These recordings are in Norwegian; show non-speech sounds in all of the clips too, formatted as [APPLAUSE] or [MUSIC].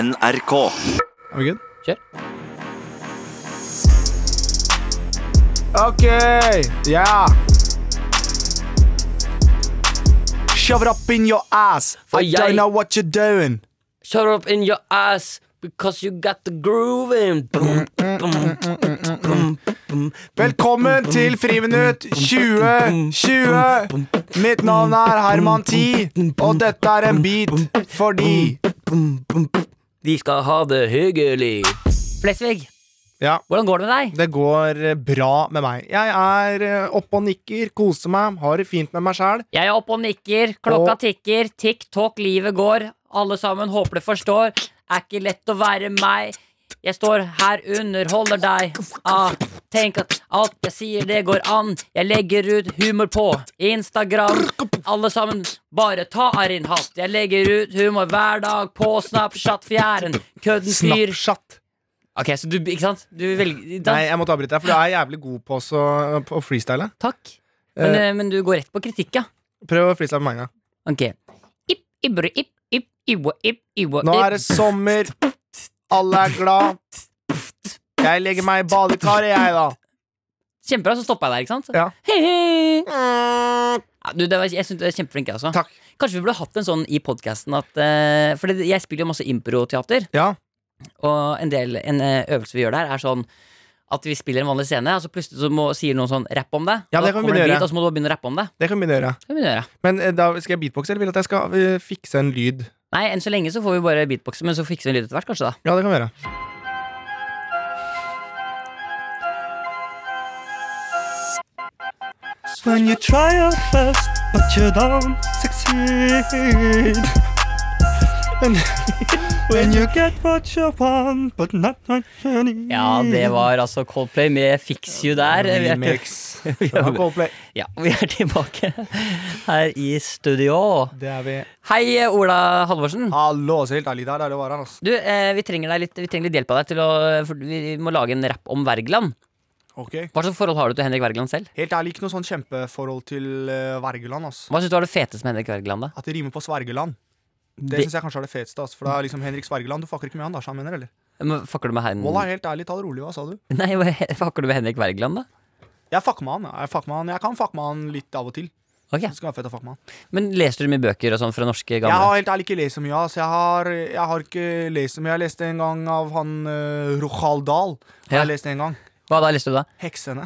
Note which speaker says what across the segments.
Speaker 1: NRK.
Speaker 2: Are we good?
Speaker 3: Kjør.
Speaker 2: Okay. Yeah. Shove it up in your ass.
Speaker 3: For
Speaker 2: I
Speaker 3: jeg-
Speaker 2: don't know what you're doing.
Speaker 3: Shut up in your ass because you got the groove in. Boom, boom, boom, boom, boom, boom.
Speaker 2: Velkommen til Friminutt 2020. Mitt navn er Herman T, og dette er en beat fordi
Speaker 3: De skal ha det hyggelig. Flesvig,
Speaker 2: Ja,
Speaker 3: hvordan går det med deg?
Speaker 2: det går eh, bra med meg. Jeg er eh, oppe og nikker, koser meg, har det fint med meg sjæl.
Speaker 3: Jeg er oppe og nikker, klokka tikker, tikk-tok, livet går. Alle sammen håper du forstår. Er ikke lett å være meg. Jeg står her, underholder deg. Ah, tenk at alt jeg sier, det går an. Jeg legger ut humor på Instagram. Alle sammen, bare ta av din hatt. Jeg legger ut humor hver dag på Snapchat, fjæren, kødden fyr.
Speaker 2: Snapchat.
Speaker 3: Ok, så du, ikke sant? Du velger
Speaker 2: Nei, jeg måtte avbryte deg, for du er jævlig god på også, eh, på å freestyle.
Speaker 3: Takk. Men, eh, men du går rett på kritikk, ja.
Speaker 2: Prøv å freestyle med meg en gang.
Speaker 3: Ok. Ip, ibru, ip, ip, iwa, ip, iwa,
Speaker 2: Nå
Speaker 3: ip.
Speaker 2: er det sommer, alle er glad. Jeg legger meg i badekaret, jeg, da.
Speaker 3: Kjempebra, så stoppa jeg der, ikke sant?
Speaker 2: Ja.
Speaker 3: Hei, hei. Ja, du, det var, jeg synes du er kjempeflink, jeg også.
Speaker 2: Takk.
Speaker 3: Kanskje vi burde hatt en sånn i podkasten at eh, For det- jeg spiller jo masse improteater,
Speaker 2: Ja.
Speaker 3: og en del en eh, øvelse vi gjør der, er sånn at vi spiller en vanlig scene, og så plutselig så må, sier noen sånn rapp om det.
Speaker 2: Ja,
Speaker 3: og da
Speaker 2: det kan vi
Speaker 3: kommer en
Speaker 2: gjøre.
Speaker 3: beat, Og så må du bare begynne å rappe om det.
Speaker 2: Det kan vi begynne å gjøre.
Speaker 3: Det kan vi gjøre.
Speaker 2: Men eh, da skal jeg beatboxe, eller vil du at jeg skal eh, fikse en lyd?
Speaker 3: Nei, enn så lenge så får vi bare beatboxe, men så fikser vi en lyd etter hvert, kanskje, da.
Speaker 2: Ja, det kan vi gjøre.
Speaker 4: When you try your best, but you don't succeed. And when you get what you want, but not what you need.
Speaker 3: Ja, det var altså Coldplay med Fix You der. Vi er-
Speaker 2: Remix. Fra Coldplay.
Speaker 3: Ja, [LAUGHS] vi er tilbake her i studio.
Speaker 2: Det er vi.
Speaker 3: Hei, Ola Halvorsen.
Speaker 2: Hallo, så helt ærlig, der er det å være, altså.
Speaker 3: Du, eh, vi, trenger deg litt, vi trenger litt hjelp av deg til å for Vi må lage en rapp om Wergeland.
Speaker 2: Ok.
Speaker 3: Hva slags forhold har du til Henrik Wergeland selv?
Speaker 2: Helt ærlig, ikke noe sånn kjempeforhold til eh, Wergeland, ass.
Speaker 3: Hva syns du var det feteste med Henrik Wergeland? da?
Speaker 2: At det rimer på Svergeland. Det,
Speaker 3: Det-
Speaker 2: synes syns jeg kanskje er det feteste, ass. For da er liksom Henrik Svergeland. Du fucker ikke med han, da, så han mener, eller?
Speaker 3: Eh, Men Fucker du med Hen...
Speaker 2: Wallah, helt ærlig, ta det rolig, hva sa du?
Speaker 3: [LAUGHS] Nei, hva- fucker du med Henrik Wergeland, da?
Speaker 2: Jeg fucker med han. Jeg, fucker med han. jeg kan fucke med han litt av og til.
Speaker 3: Ok,
Speaker 2: Det skal være fett å fucke med han.
Speaker 3: Men leser du mye bøker og sånn fra norske
Speaker 2: Jeg
Speaker 3: gamle?
Speaker 2: har helt ærlig ikke lest så mye, ass. Jeg har, jeg har ikke lest så mye. Jeg leste en gang av han uh, Rochald Dahl.
Speaker 3: Ja.
Speaker 2: Jeg leste en gang.
Speaker 3: Hva da leste du da?
Speaker 2: Heksene.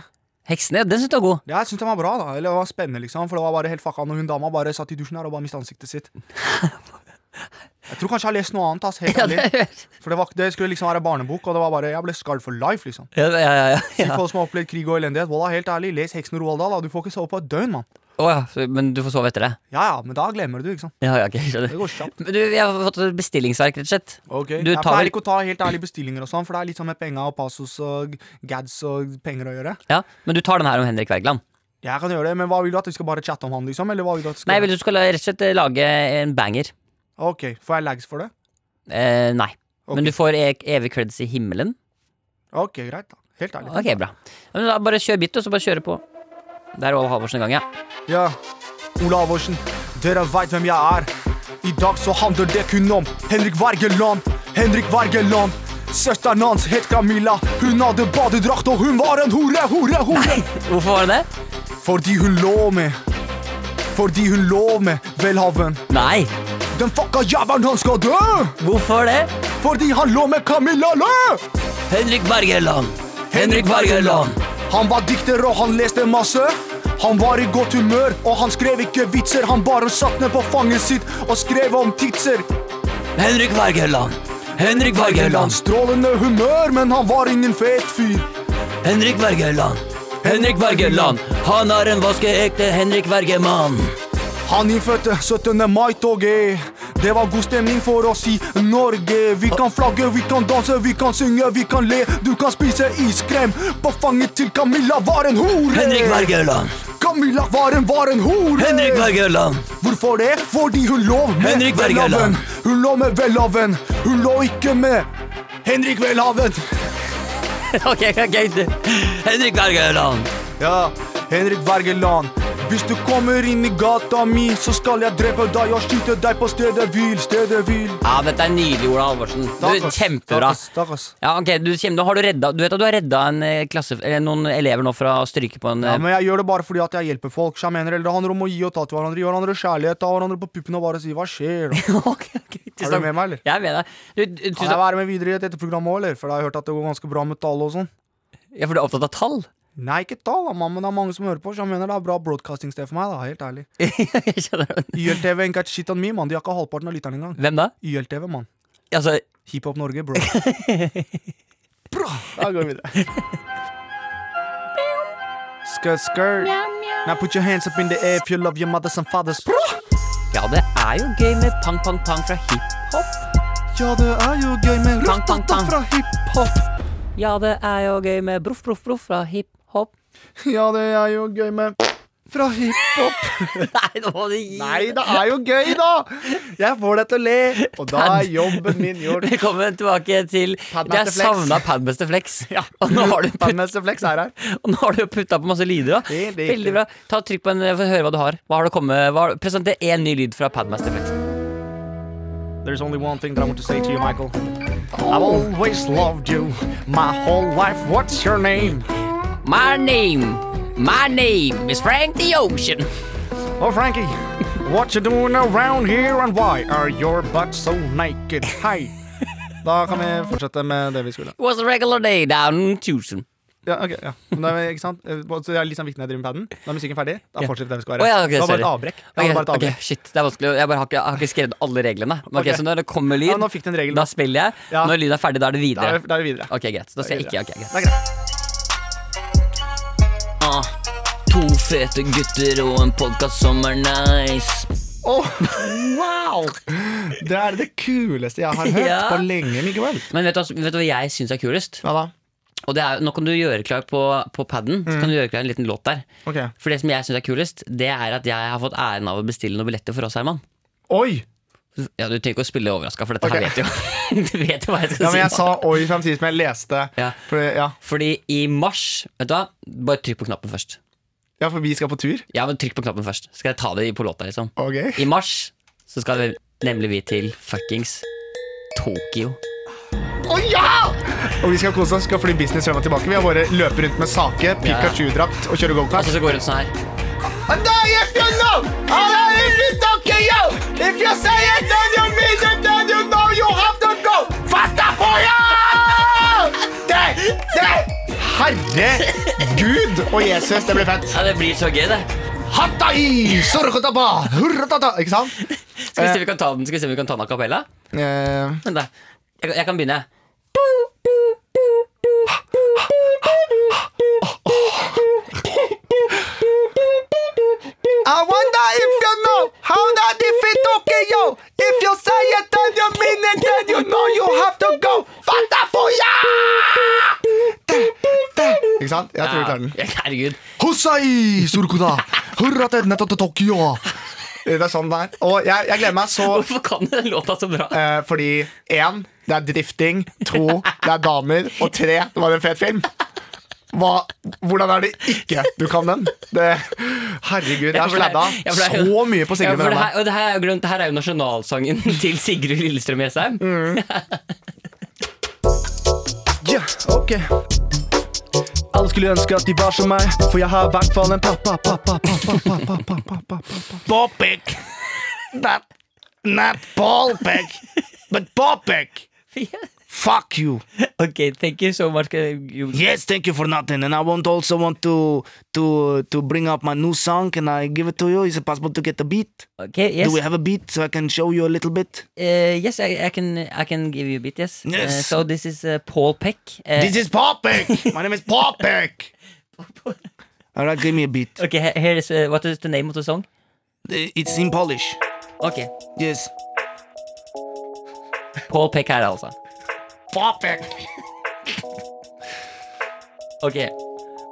Speaker 3: Heksene? ja, Den syns du var god.
Speaker 2: Ja, jeg syntes den var bra, da. Eller det var spennende, liksom. For det var bare helt fucka når hun dama bare satt i dusjen her og bare mistet ansiktet
Speaker 3: [LAUGHS]
Speaker 2: sitt. Jeg tror kanskje jeg har lest noe annet, ass. Helt
Speaker 3: Ja,
Speaker 2: ærlig.
Speaker 3: det,
Speaker 2: For det, var, det skulle liksom være barnebok, og det var bare Jeg ble scarred for life, liksom.
Speaker 3: ja, ja, ja,
Speaker 2: Til
Speaker 3: [LAUGHS] ja.
Speaker 2: folk som har opplevd krig og elendighet. Wallah, helt ærlig, les Heksen og Roald Dahl, da. Du får ikke sove på et døgn, mann.
Speaker 3: Å ja, så- men du får sove etter det?
Speaker 2: Ja ja, men da glemmer du, ikke sant.
Speaker 3: Ja, ja, ok, skjønner.
Speaker 2: Det går kjapt.
Speaker 3: Men du, jeg har fått et bestillingsverk, rett og slett.
Speaker 2: Okay.
Speaker 3: Du
Speaker 2: jeg
Speaker 3: tar
Speaker 2: pleier
Speaker 3: vel-
Speaker 2: ikke å ta helt ærlige bestillinger og sånn, for det er litt sånn med penga og passos og gads og penger å gjøre.
Speaker 3: Ja, Men du tar den her om Henrik Wergeland?
Speaker 2: Jeg kan gjøre det, men hva vil du at vi skal bare chatte om han, liksom? Eller hva vil du at vi skal
Speaker 3: Nei, jeg vil du skal la- rett og slett eh, lage en banger.
Speaker 2: Ok, får jeg lags for det?
Speaker 3: Eh, nei.
Speaker 2: Ok.
Speaker 3: Men du får e evig creds i himmelen.
Speaker 2: Ok, greit, da. Helt ærlig.
Speaker 3: Ok, bra. Ja, Men da bare kjør bit, og så bare kjøre på. Det er Ola Halvorsen i gang, ja. [LAUGHS]
Speaker 2: Ja, Ola Avorsen, dere veit hvem jeg er. I dag så handler det kun om Henrik Wergeland, Henrik Wergeland. Søsteren hans het Camilla. Hun hadde badedrakt, og hun var en hore, hore, hore.
Speaker 3: Hvorfor var det det?
Speaker 2: Fordi hun lå med Fordi hun lå med Welhaven.
Speaker 3: Nei!
Speaker 2: Den fucka jævelen, han skal dø!
Speaker 3: Hvorfor det?
Speaker 2: Fordi han lå med Camilla Lø!
Speaker 3: Henrik Bergerland!
Speaker 2: Han var dikter og han leste masse. Han var i godt humør og han skrev ikke vitser. Han bare satt ned på fanget sitt og skrev om titser.
Speaker 3: Henrik Bergerland! Henrik
Speaker 2: Bergeland strålende humør, men han var ingen fet fyr.
Speaker 3: Henrik Bergerland!
Speaker 2: Henrik Wergeland.
Speaker 3: Han er en vaskeekte Henrik Bergermann!
Speaker 2: Han innfødte 17. mai-toget. Det var god stemning for oss i Norge. Vi kan flagge, vi kan danse, vi kan synge, vi kan le. Du kan spise iskrem. På fanget til Camilla var en hore.
Speaker 3: Bergerland!
Speaker 2: Camilla var en, var en hore.
Speaker 3: [LAUGHS] Bergerland!
Speaker 2: Hvorfor det? Fordi hun lå med
Speaker 3: Henrik Wergeland.
Speaker 2: Welhaven. Hun lå med Welhaven. Hun lå ikke med Henrik Welhaven.
Speaker 3: ok, ok. Henrik Bergerland!
Speaker 2: Ja, Henrik Wergeland. Hvis du kommer inn i gata mi, så skal jeg drepe deg og skyte deg på stedet hvil, stedet hvil.
Speaker 3: Ja, dette er nydelig, Ola Halvorsen. Du,
Speaker 2: ass. Takk,
Speaker 3: kjempebra.
Speaker 2: ass, Takk, ass.
Speaker 3: Ja, ok, du, kjem, du, har du, redda, du vet at du har redda en eh, klasse, eh, noen elever nå fra å stryke på en
Speaker 2: Ja,
Speaker 3: eh,
Speaker 2: men jeg gjør det bare fordi at jeg hjelper folk. Jeg mener, det handler om å gi og ta til hverandre, gi hverandre kjærlighet, ta hverandre på puppen og bare si 'hva
Speaker 3: [LAUGHS]
Speaker 2: skjer'? da?"
Speaker 3: eh, Ok, ok, tusen
Speaker 2: Er
Speaker 3: takk.
Speaker 2: du med meg, eller?
Speaker 3: Jeg er med deg. Du, du, tusen
Speaker 2: Kan
Speaker 3: takk.
Speaker 2: jeg være med videre i dette programmet òg, eller? For jeg har hørt at det går ganske bra med tall og sånn.
Speaker 3: Ja, for du er opptatt av tall? [LAUGHS]
Speaker 2: Nei, ikke tall, da, mann, men det er mange som hører på, så jeg mener det er bra broadcasting-sted for meg, da, helt
Speaker 3: [LAUGHS]
Speaker 2: ærlig.
Speaker 3: Jeg skjønner det.
Speaker 2: YLTV ain't got shit on me, mann. De har ikke halvparten av lytterne engang.
Speaker 3: Hvem da?
Speaker 2: YLTV, mann.
Speaker 3: Altså,
Speaker 2: Hiphop Norge, [LAUGHS] bro. bro. Da går vi videre. Skirt, skirt. Now put your hands up in the air if you love your mothers and fathers. Bro.
Speaker 3: ja, det er jo gøy med pang, pang, pang fra hiphop.
Speaker 2: Ja, det er jo gøy med
Speaker 3: Tang, tang,
Speaker 2: rustata
Speaker 3: tang.
Speaker 2: fra hiphop.
Speaker 3: Ja, det er jo gøy med broff, broff, broff fra hiphop.
Speaker 2: Ja, det er jo gøy med fra hiphop.
Speaker 3: [LAUGHS] Nei, nå må du gi
Speaker 2: Nei, det er jo gøy, da! Jeg får deg til å le, og da er jobben min gjort.
Speaker 3: Velkommen tilbake til
Speaker 2: Padmaster
Speaker 3: Jeg
Speaker 2: Flex.
Speaker 3: savna Padmaster Flex. Og nå [LAUGHS] har du putt-
Speaker 2: Padmester Flex er her. eh.
Speaker 3: Og nå har du jo putta på masse lyder. da
Speaker 2: Helt riktig.
Speaker 3: Veldig bra. Ta og Trykk på en, få høre hva du har. Hva har du kommet hva har, Presenter én ny lyd fra Padmaster Flex.
Speaker 2: There's only one thing that I want to say to you, Michael. I've always loved you my whole life. What's your name?
Speaker 3: My name My name is Frank the Ocean.
Speaker 2: Oh, Frankie, what you doing around here, and why are your butts so naked? Hei. [LAUGHS] Da kan vi fortsette med det vi skulle.
Speaker 3: It was a regular day down in Tucson.
Speaker 2: Ja, ok, ja. Men da er vi- ikke sant? Eh, Så det er litt sånn viktig når jeg driver med paden. Da er musikken ferdig. Da
Speaker 3: Ja.
Speaker 2: fortsetter det vi skal
Speaker 3: Å,
Speaker 2: være.
Speaker 3: ja, ok,
Speaker 2: det var bare et
Speaker 3: sorry.
Speaker 2: avbrekk. Det var
Speaker 3: Ok,
Speaker 2: bare et
Speaker 3: ok,
Speaker 2: avbrekk.
Speaker 3: shit, det er vanskelig. Jeg bare har ikke, jeg har ikke skrevet alle reglene. Men ok,
Speaker 2: Ok.
Speaker 3: Så når det kommer lyd,
Speaker 2: Ja, nå fikk du en regel.
Speaker 3: da spiller jeg.
Speaker 2: Ja.
Speaker 3: Når lyden er ferdig, da er
Speaker 2: Da
Speaker 3: det
Speaker 2: er
Speaker 3: videre.
Speaker 2: vi- da er vi videre.
Speaker 3: Ok, greit. Da skal jeg ikke. ok, greit
Speaker 2: Det er greit.
Speaker 3: Ah, To fete gutter og en podkast som er nice.
Speaker 2: Åh, wow! Det er det kuleste jeg har hørt
Speaker 3: Ja.
Speaker 2: på lenge, Mikael.
Speaker 3: Men vet du, hva- vet du hva jeg syns er kulest?
Speaker 2: Ja da.
Speaker 3: Og det er, Nå kan du gjøre klar på, på paden. Så
Speaker 2: Mm.
Speaker 3: kan du gjøre klar en liten låt der.
Speaker 2: Ok.
Speaker 3: For det som jeg syns er kulest, det er at jeg har fått æren av å bestille noen billetter for oss, Herman.
Speaker 2: Oi!
Speaker 3: Ja, Du trenger ikke å spille overraska, for dette
Speaker 2: Ok.
Speaker 3: her vet jo [LAUGHS] du vet jo hva jeg skal
Speaker 2: Ja, men
Speaker 3: si.
Speaker 2: jeg
Speaker 3: nå.
Speaker 2: sa oi samtidig som jeg leste.
Speaker 3: Ja.
Speaker 2: For, ja.
Speaker 3: Fordi i mars Vet du hva, bare trykk på knappen først.
Speaker 2: ja, for vi skal på tur.
Speaker 3: Ja, men trykk på knappen først. Skal jeg ta det i- på låta, liksom.
Speaker 2: Ok.
Speaker 3: I mars så skal vi nemlig vi til fuckings Tokyo.
Speaker 2: Å ja! Og vi skal kose oss, skal fly business frem og tilbake. Vi har bare løpe rundt med sake, Pikachu-drakt og kjøre
Speaker 3: Og
Speaker 2: gokart.
Speaker 3: så går rundt sånn her.
Speaker 2: And I if you know, and I if you don't care, yo. If you say it, then you mean it, then you know you have to go. Fatta på, ja! Det, det. Herregud og Jesus, det blir fett.
Speaker 3: Ja, Det blir så gøy, det.
Speaker 2: Hattai, surkutaba, hurratata, ikke sant?
Speaker 3: Skal vi se om vi kan ta den Skal vi se om vi kan ta den a cappella?
Speaker 2: Eh,
Speaker 3: Vent, da. Jeg, jeg kan begynne.
Speaker 2: I wonder if you know how that defeat Tokyo. If you say it, then you mean it, then you know you have to go. Fatta foya! Ikke sant? Jeg tror vi klarer den.
Speaker 3: Ja, herregud.
Speaker 2: Hosai, Surkuda! Hurra til nettopp til Tokyo! Det er sånn det er. Og jeg, jeg gleder meg så
Speaker 3: Hvorfor kan du den låta så bra?
Speaker 2: eh, fordi én, det er drifting. To, det er damer. Og tre, det var en fet film. Hva, hvordan er det ikke du kan den? Det, herregud, jeg
Speaker 3: Ja,
Speaker 2: har
Speaker 3: for det-
Speaker 2: sladda
Speaker 3: ja, for det-
Speaker 2: så mye på
Speaker 3: Ja,
Speaker 2: Sigrid
Speaker 3: for
Speaker 2: med
Speaker 3: det
Speaker 2: denne.
Speaker 3: her, og det her, er jo glemt, det her er jo nasjonalsangen [LAUGHS] til Sigrud Lillestrøm Jessheim.
Speaker 2: Ja, ok Alle skulle ønske at de var som meg For jeg har i hvert fall en pappa Pappa, pappa, pappa, pappa, pappa Bopik Not, not ballpik But
Speaker 3: [LAUGHS]
Speaker 2: bopik Fuck you
Speaker 3: ok, thank you so much. Uh, You-
Speaker 2: Yes, thank you for nothing And I want also want to To, to bring up my new song Can I give it to you? Is it possible to get the beat?
Speaker 3: Ok, yes,
Speaker 2: Do we have a beat so I can show you a little bit?
Speaker 3: Eh, yes I, I, can, I can give you a bit, yes.
Speaker 2: Yes.
Speaker 3: Eh, so this is eh, Paul Peck. Eh,
Speaker 2: This is
Speaker 3: [LAUGHS]
Speaker 2: Popik My name is Popik Alright, give me a beat
Speaker 3: ok, he- here is, eh, what is the name of the song?
Speaker 2: It's in Polish
Speaker 3: Ok,
Speaker 2: Yes
Speaker 3: Paul Peck her altså.
Speaker 2: Popik
Speaker 3: Ok,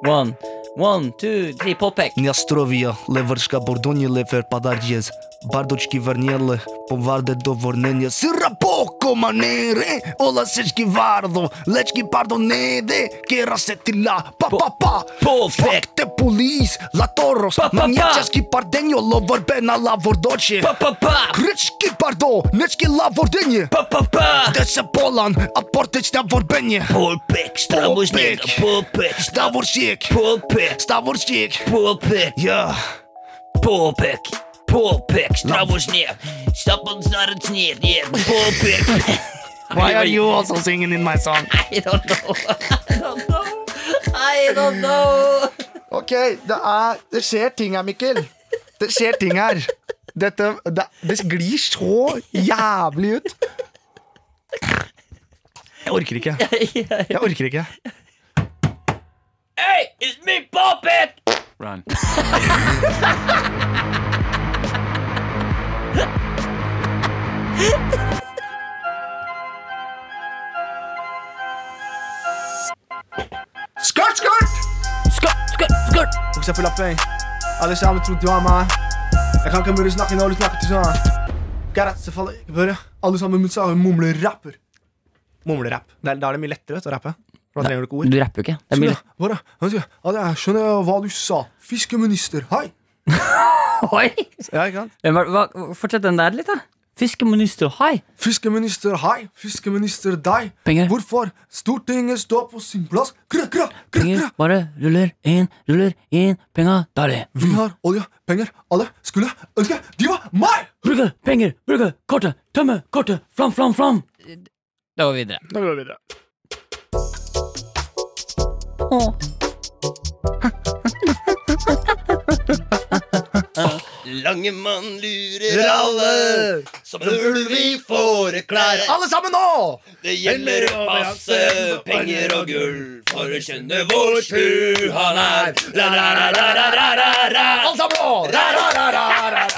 Speaker 3: one, one, two, three, Paul Peck.
Speaker 1: Miastrovia, Lewarszka, po Bordonile, Ferpadarjes, Bardoczki, Warniele, Powarde do Wornenia, Syrapoko! comanere Ola sečki vardo, lečki pardonede Kera se ti la, pa pa pa
Speaker 5: Perfect.
Speaker 1: Fuck te polis, la toros
Speaker 5: Pa, pa, pa.
Speaker 1: Manjačaski pardenjo, lo vrbena la vordoče
Speaker 5: Pa pa pa.
Speaker 1: Krčki pardo, nečki la vordenje
Speaker 5: Pa pa Po, pa.
Speaker 1: Te se polan, a porteč na vorbenje Po
Speaker 5: Полпек, стравушник,
Speaker 1: Полпек.
Speaker 5: полпек,
Speaker 1: Stavorčik,
Speaker 5: полпек,
Speaker 1: stavorčik
Speaker 5: полпек,
Speaker 1: Ja,
Speaker 5: полпек, полпек, стравушник. Stop on snarret neer, neer, полпек.
Speaker 1: why are you also singing in my song?
Speaker 3: [LAUGHS] I don't know. [LAUGHS] I don't know. I don't know.
Speaker 2: Ok, det er Det skjer ting her, Mikkel. Det skjer ting her. Dette Det, det glir så jævlig ut. Jeg orker ikke. Jeg orker ikke.
Speaker 5: Hey, it's me, Popek! Run.
Speaker 2: Skurt, skurt!
Speaker 3: Skurt, skurt, skurt.
Speaker 2: Buksa full av peng. eh. Alle sammen trodde du var meg. Jeg kan ikke mye snakke når du snakker til sånn. Garrett, så faller ikke bare. Alle sammen mot seg mumlerapper. Mumlerapp. Da da er det mye lettere vet, du, å rappe. For Da trenger du ikke ord.
Speaker 3: Du rapper jo ikke. Det er mye
Speaker 2: Skjønner, bare, vet du, ja, det er- skjønner jeg hva du sa. Fiskeminister, hei!
Speaker 3: Oi!
Speaker 2: Ja, ikke sant?
Speaker 3: Hvem var, hva, fortsett den der litt, da. Fiskeminister, hei!
Speaker 2: Fiskeminister, hei! Fiskeminister, deg!
Speaker 3: Penger.
Speaker 2: Hvorfor? Stortinget står på sin plass! Kra, kra, kra,
Speaker 3: Penger
Speaker 2: kra.
Speaker 3: bare ruller inn, ruller inn, penga dali.
Speaker 2: Vi har olje, penger, alle skulle ønske de var meg!
Speaker 3: Bruke penger, bruke kortet, tømme kortet, flam, flam, flam. Da går vi videre.
Speaker 2: Da går vi videre.
Speaker 5: Lange mann lurer alle, som en ulv i fåreklær.
Speaker 2: Alle sammen nå!
Speaker 5: Det gjelder å passe penger og gull for å skjønne hvor slu han er. Ra, ra, ra, ra, ra, ra, ra, ra.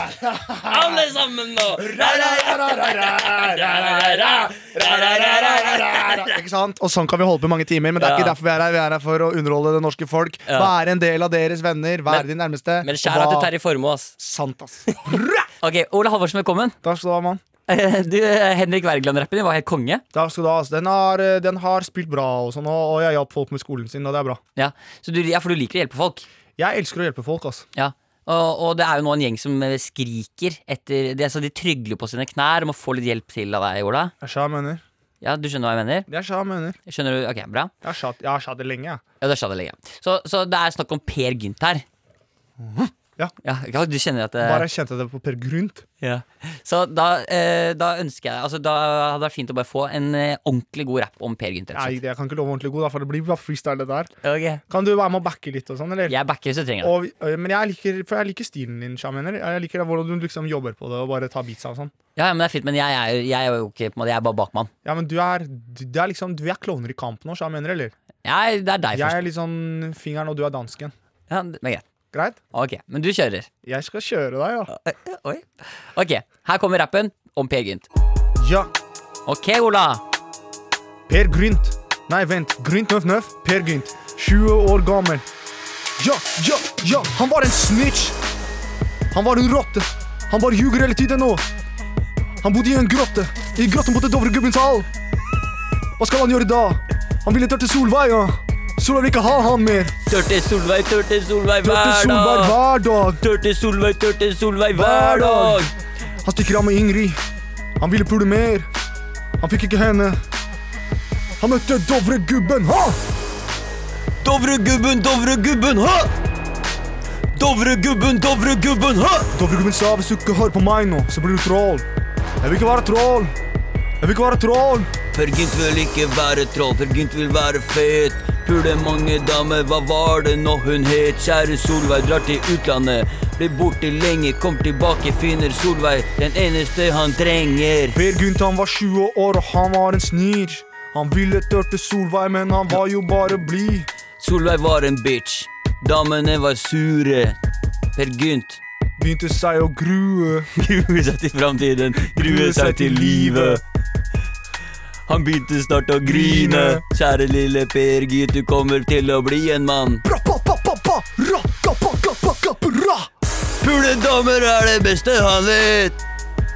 Speaker 2: Alle sammen nå! Ra, ra, ra, ra, ra, ra.
Speaker 5: Alle sammen nå! Ra, ra, ra, ra, ra, ra, ra, ra, ra. Ra, ra, ra, ra, ra, ra, ra.
Speaker 2: Ikke sant? Og sånn kan vi holde på i mange timer, men det er ikke derfor vi er her. Vi er her for å underholde det norske folk. Være en del av deres venner, være din nærmeste.
Speaker 3: Men skjær at du
Speaker 2: Hva-
Speaker 3: tar i formu, ass.
Speaker 2: Sant, ass.
Speaker 3: Ok, Ole Halvorsen, velkommen.
Speaker 2: [LAUGHS] Takk skal du ha, mann.
Speaker 3: Eh, Du, eh, Henrik Wergeland-rappen din var helt konge.
Speaker 2: Takk skal du ha, ass. Den har, eh, den har spilt bra, og sånn, og og jeg hjalp folk med skolen sin, og det er bra.
Speaker 3: Ja, så du, ja for du liker å hjelpe folk.
Speaker 2: Jeg elsker å hjelpe folk, ass.
Speaker 3: Ja. Og, og det er jo nå en gjeng som eh, skriker etter det, altså De trygler på sine knær om å få litt hjelp til av deg, Ola.
Speaker 2: Jeg sa jeg mener.
Speaker 3: Ja, du skjønner hva jeg mener?
Speaker 2: Jeg sa jeg mener.
Speaker 3: Skjønner du? Ok, bra.
Speaker 2: Jeg har sa- jeg har sa det lenge, jeg.
Speaker 3: Ja, da skjønner jeg lenge. Så, så det er snakk om Per Gynt her.
Speaker 2: Ja.
Speaker 3: ja, du kjenner at det,
Speaker 2: Bare jeg kjente det på Per Grunt.
Speaker 3: ja. Så da, eh, da ønsker jeg altså, Da hadde det vært fint å bare få en eh, ordentlig god rapp om Per Gynt.
Speaker 2: Nei,
Speaker 3: rett og slett.
Speaker 2: jeg kan ikke love ordentlig god, da, for det blir bare freestyle, det der.
Speaker 3: Ok.
Speaker 2: Kan du være med og backe litt og sånn, eller?
Speaker 3: Jeg backer hvis du trenger det.
Speaker 2: Og, vi- øh, men jeg liker, for jeg liker stilen din, Shamener. Jeg liker det, hvordan du liksom jobber på det og bare tar beatsa og sånn.
Speaker 3: Ja, ja, men det er fint, men jeg er, jo- jeg er jo ikke på en måte, Jeg er bare bakmann.
Speaker 2: Ja, men du er, du, det er liksom, du er kloner i kamp nå, Shamener, eller?
Speaker 3: Jeg, det er deg
Speaker 2: Jeg
Speaker 3: først.
Speaker 2: er liksom fingeren, og du er dansken.
Speaker 3: Ja, det men greit.
Speaker 2: Greit?
Speaker 3: Ok, men du kjører.
Speaker 2: Jeg skal kjøre deg, ja.
Speaker 3: Oi. Ok, her kommer rappen om Per Gynt.
Speaker 2: Ja,
Speaker 3: Ok, Ola.
Speaker 2: Per Grynt. Nei, vent. Grynt Nøff Nøff. Per Grynt. 20 år gammel. Ja, ja, ja. Han var en snitch. Han var en rotte. Han bare ljuger hele tiden nå. Han bodde i en grotte. I grotten bodde Dovregubbens hall. Hva skal han gjøre da? Han ville tørte Solveig, ja. Solveig vil ikke ha han mer.
Speaker 3: Tørte Solveig, tørte Solveig
Speaker 2: Tørte
Speaker 3: hver
Speaker 2: Solveig
Speaker 3: dag.
Speaker 2: hver dag.
Speaker 3: Tørte Solveig, tørte Solveig
Speaker 2: Hver
Speaker 3: hver
Speaker 2: dag.
Speaker 3: dag.
Speaker 2: Han stikker av med Ingrid. Han ville pule mer. Han fikk ikke henne. Han møtte Dovregubben, ha!
Speaker 5: Dovregubben, Dovregubben, ha! Dovregubben, Dovregubben, ha!
Speaker 2: Dovregubben sa hvis du ikke hører på meg nå, så blir du troll. Jeg vil ikke være troll. Jeg vil ikke være troll.
Speaker 5: Per Gynt vil ikke være troll, Per Gynt vil være fet. Pule mange damer, hva var det nå hun het? Kjære Solveig drar til utlandet. Blir borte lenge, kommer tilbake, finner Solveig den eneste han trenger.
Speaker 2: Per Gynt han var 20 år og han var en snitch. Han ville tørte Solveig, men han var jo bare blid.
Speaker 5: Solveig var en bitch. Damene var sure. Per Gynt
Speaker 2: Begynte seg å grue.
Speaker 5: gruer seg til framtiden, gruer seg til livet. Han begynte snart å grine. Kjære lille Per Gynt, du kommer til å bli en mann.
Speaker 2: Bra, pa, pa, pa, pa, ra, ka, pa, ka, pa, ka, bra.
Speaker 5: Puledommer er det beste han vet.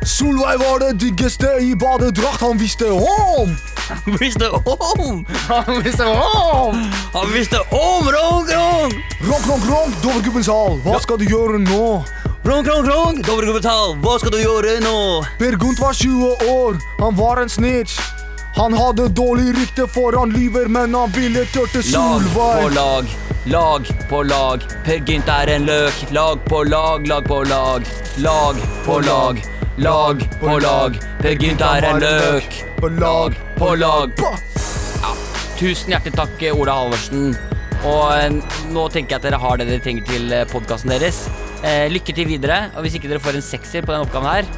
Speaker 2: Solveig var det diggeste i badedrakt, han visste om!
Speaker 3: Han visste om!
Speaker 2: Han visste om!
Speaker 3: Han visste om Rong Rong!
Speaker 2: Ronk, ronk, ronk, Dovregubbens hall, hva skal du gjøre nå?
Speaker 3: Rong Rong Rong! Dobbeltgruppe tall, hva skal du gjøre nå?
Speaker 2: Per Gunt var 20 år, han var en snitch. Han hadde dårlig rykte for han lyver, men han ville tørte
Speaker 3: Lag på
Speaker 2: Solveig.
Speaker 3: lag, lag på lag. Per Gynt er en løk. Lag på lag, lag på lag. Lag på lag, lag på lag. Per Gynt er en løk.
Speaker 2: På lag,
Speaker 3: på lag.
Speaker 2: Pa!
Speaker 3: Tusen hjertelig takk, Ola Halvorsen. Og eh, nå tenker jeg at dere har det dere trenger til podkasten deres. Eh, lykke til videre. Og hvis ikke dere får en sekser på den oppgaven her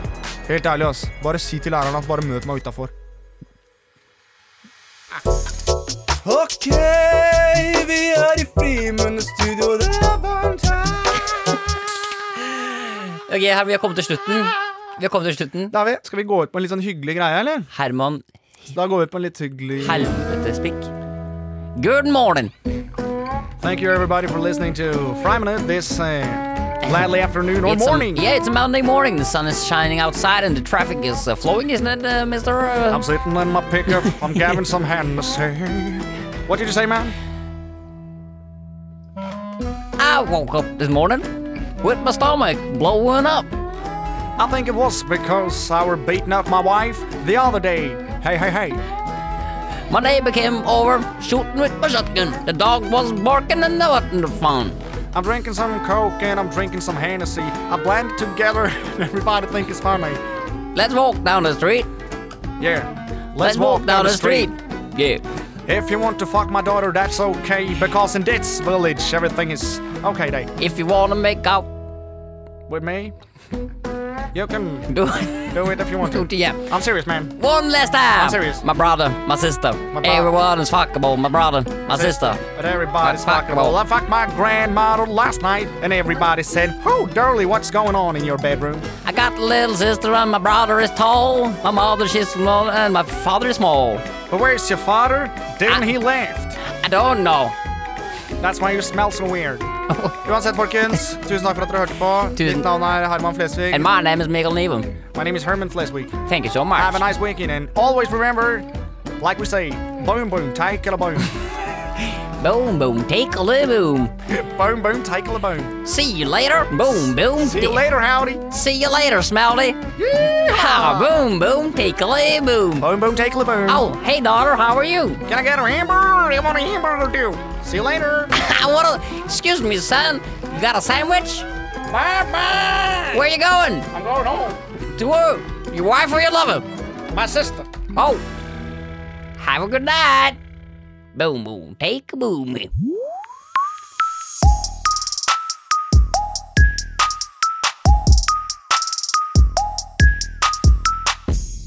Speaker 2: Helt ærlig, ass. Bare si til læreren at bare møt meg utafor.
Speaker 6: Ok, vi er i Frimundestudio, det er varmt her.
Speaker 3: Ok, her, Vi har kommet til slutten. Vi har kommet til slutten.
Speaker 2: David, skal vi gå ut på en litt sånn hyggelig greie, eller?
Speaker 3: Herman
Speaker 2: Da går vi ut på en litt hyggelig
Speaker 3: Helvetespikk. Good morning.
Speaker 2: Thank you everybody for listening to Fry Minute this uh, lively afternoon or
Speaker 3: It's a-
Speaker 2: morning.
Speaker 3: yeah, it's a Monday morning. The sun is shining outside and the traffic is uh, flowing, isn't it, uh, Mr. Uh,
Speaker 2: I'm sitting in my [LAUGHS] pickup. I'm giving some hand massage. What did you say, man?
Speaker 3: I woke up this morning with my stomach blowing up.
Speaker 2: I think it was because I were beating up my wife the other day. Hey, hey, hey.
Speaker 3: My neighbor came over shooting with my shotgun. The dog was barking and I wasn't fun.
Speaker 2: I'm drinking some Coke and I'm drinking some Hennessy. I blend it together [LAUGHS] and everybody think it's funny.
Speaker 3: Let's walk down the street.
Speaker 2: Yeah. Let's, walk, down, the street.
Speaker 3: Yeah.
Speaker 2: If you want to fuck my daughter, that's okay because in this village everything is okay day.
Speaker 3: If you want to make out, [LAUGHS]
Speaker 2: With me, you can
Speaker 3: do it.
Speaker 2: do it if you want
Speaker 3: Do
Speaker 2: to.
Speaker 3: it, [LAUGHS] yeah.
Speaker 2: I'm serious, man.
Speaker 3: One last time.
Speaker 2: I'm serious.
Speaker 3: My brother, my sister.
Speaker 2: brother.
Speaker 3: Everyone is fuckable. My brother, my sister.
Speaker 2: But everybody's
Speaker 3: That's fuckable.
Speaker 2: fuckable. I fucked my grandmother last night, and everybody said, Oh, Darlie, what's going on in your bedroom?
Speaker 3: I got a little sister and my brother is tall. My mother she's small and my father is small.
Speaker 2: But where's your father? Didn't
Speaker 3: I-
Speaker 2: he left?
Speaker 3: I don't know.
Speaker 2: That's why you smell so
Speaker 3: [LAUGHS]
Speaker 2: weird. Uansett, folkens, tusen takk for at dere hørte på.
Speaker 3: Tusen-
Speaker 2: Mitt navn er Herman Flesvig.
Speaker 3: And my name is Mikael Niven.
Speaker 2: my name is Herman Flesvig.
Speaker 3: Thank you so much.
Speaker 2: Have a nice weekend, and always remember, like we say, boom, boom, take a
Speaker 3: [LAUGHS]
Speaker 2: boom.
Speaker 3: boom boom, take a little boom.
Speaker 2: boom, boom, take a boom.
Speaker 3: See you later. Boom boom.
Speaker 2: See you later, howdy.
Speaker 3: See you later, Smelly. Ha, boom boom, take a little boom.
Speaker 2: Boom, boom, take a boom.
Speaker 3: Oh, hey daughter, how are you? [LAUGHS]
Speaker 2: Can I get a hamburger? I want a hamburger, too. See you later.
Speaker 3: I wanna. Excuse me, son. You got a sandwich?
Speaker 2: bye, bye.
Speaker 3: Where you going?
Speaker 2: I'm going home.
Speaker 3: To uh, your wife or your lover?
Speaker 2: My sister.
Speaker 3: Oh, have a good night. Boom, boom, take a boom.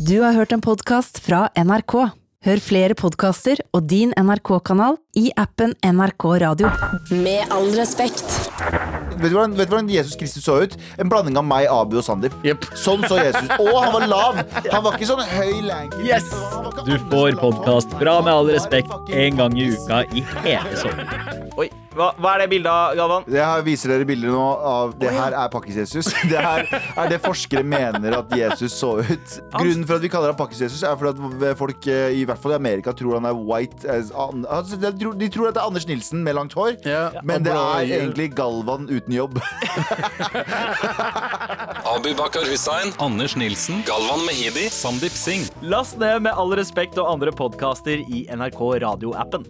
Speaker 7: Du har hørt en podkast fra NRK. Hør flere podkaster og din NRK-kanal i appen NRK Radio.
Speaker 8: Med all respekt.
Speaker 9: Vet du, hvordan, vet du hvordan Jesus Kristus så ut? En blanding av meg, Abu og Sandeep. Sånn så Jesus. Og han var lav! Han var ikke sånn høy lanky.
Speaker 10: Yes! Du får podkast fra Med all respekt en gang i uka i hele sommeren.
Speaker 6: Oi, hva, hva er det bildet av, Galvan?
Speaker 9: Jeg har- viser dere bilder nå av Det her er Pakkis-Jesus. [LAUGHS] Det her er det forskere mener at Jesus så ut. Grunnen for at vi kaller ham Pakkis-Jesus, er fordi at folk eh, i hvert fall i Amerika tror han er white as an- altså, De tror de tror at det er Anders Nilsen med langt hår, men det er egentlig Galvan uten jobb.
Speaker 11: Abu Bakar Hussein, Anders Nilsen, Galvan Mehidi, Sandeep Singh.
Speaker 10: Last ned Med all respekt og andre podkaster i NRK radioappen.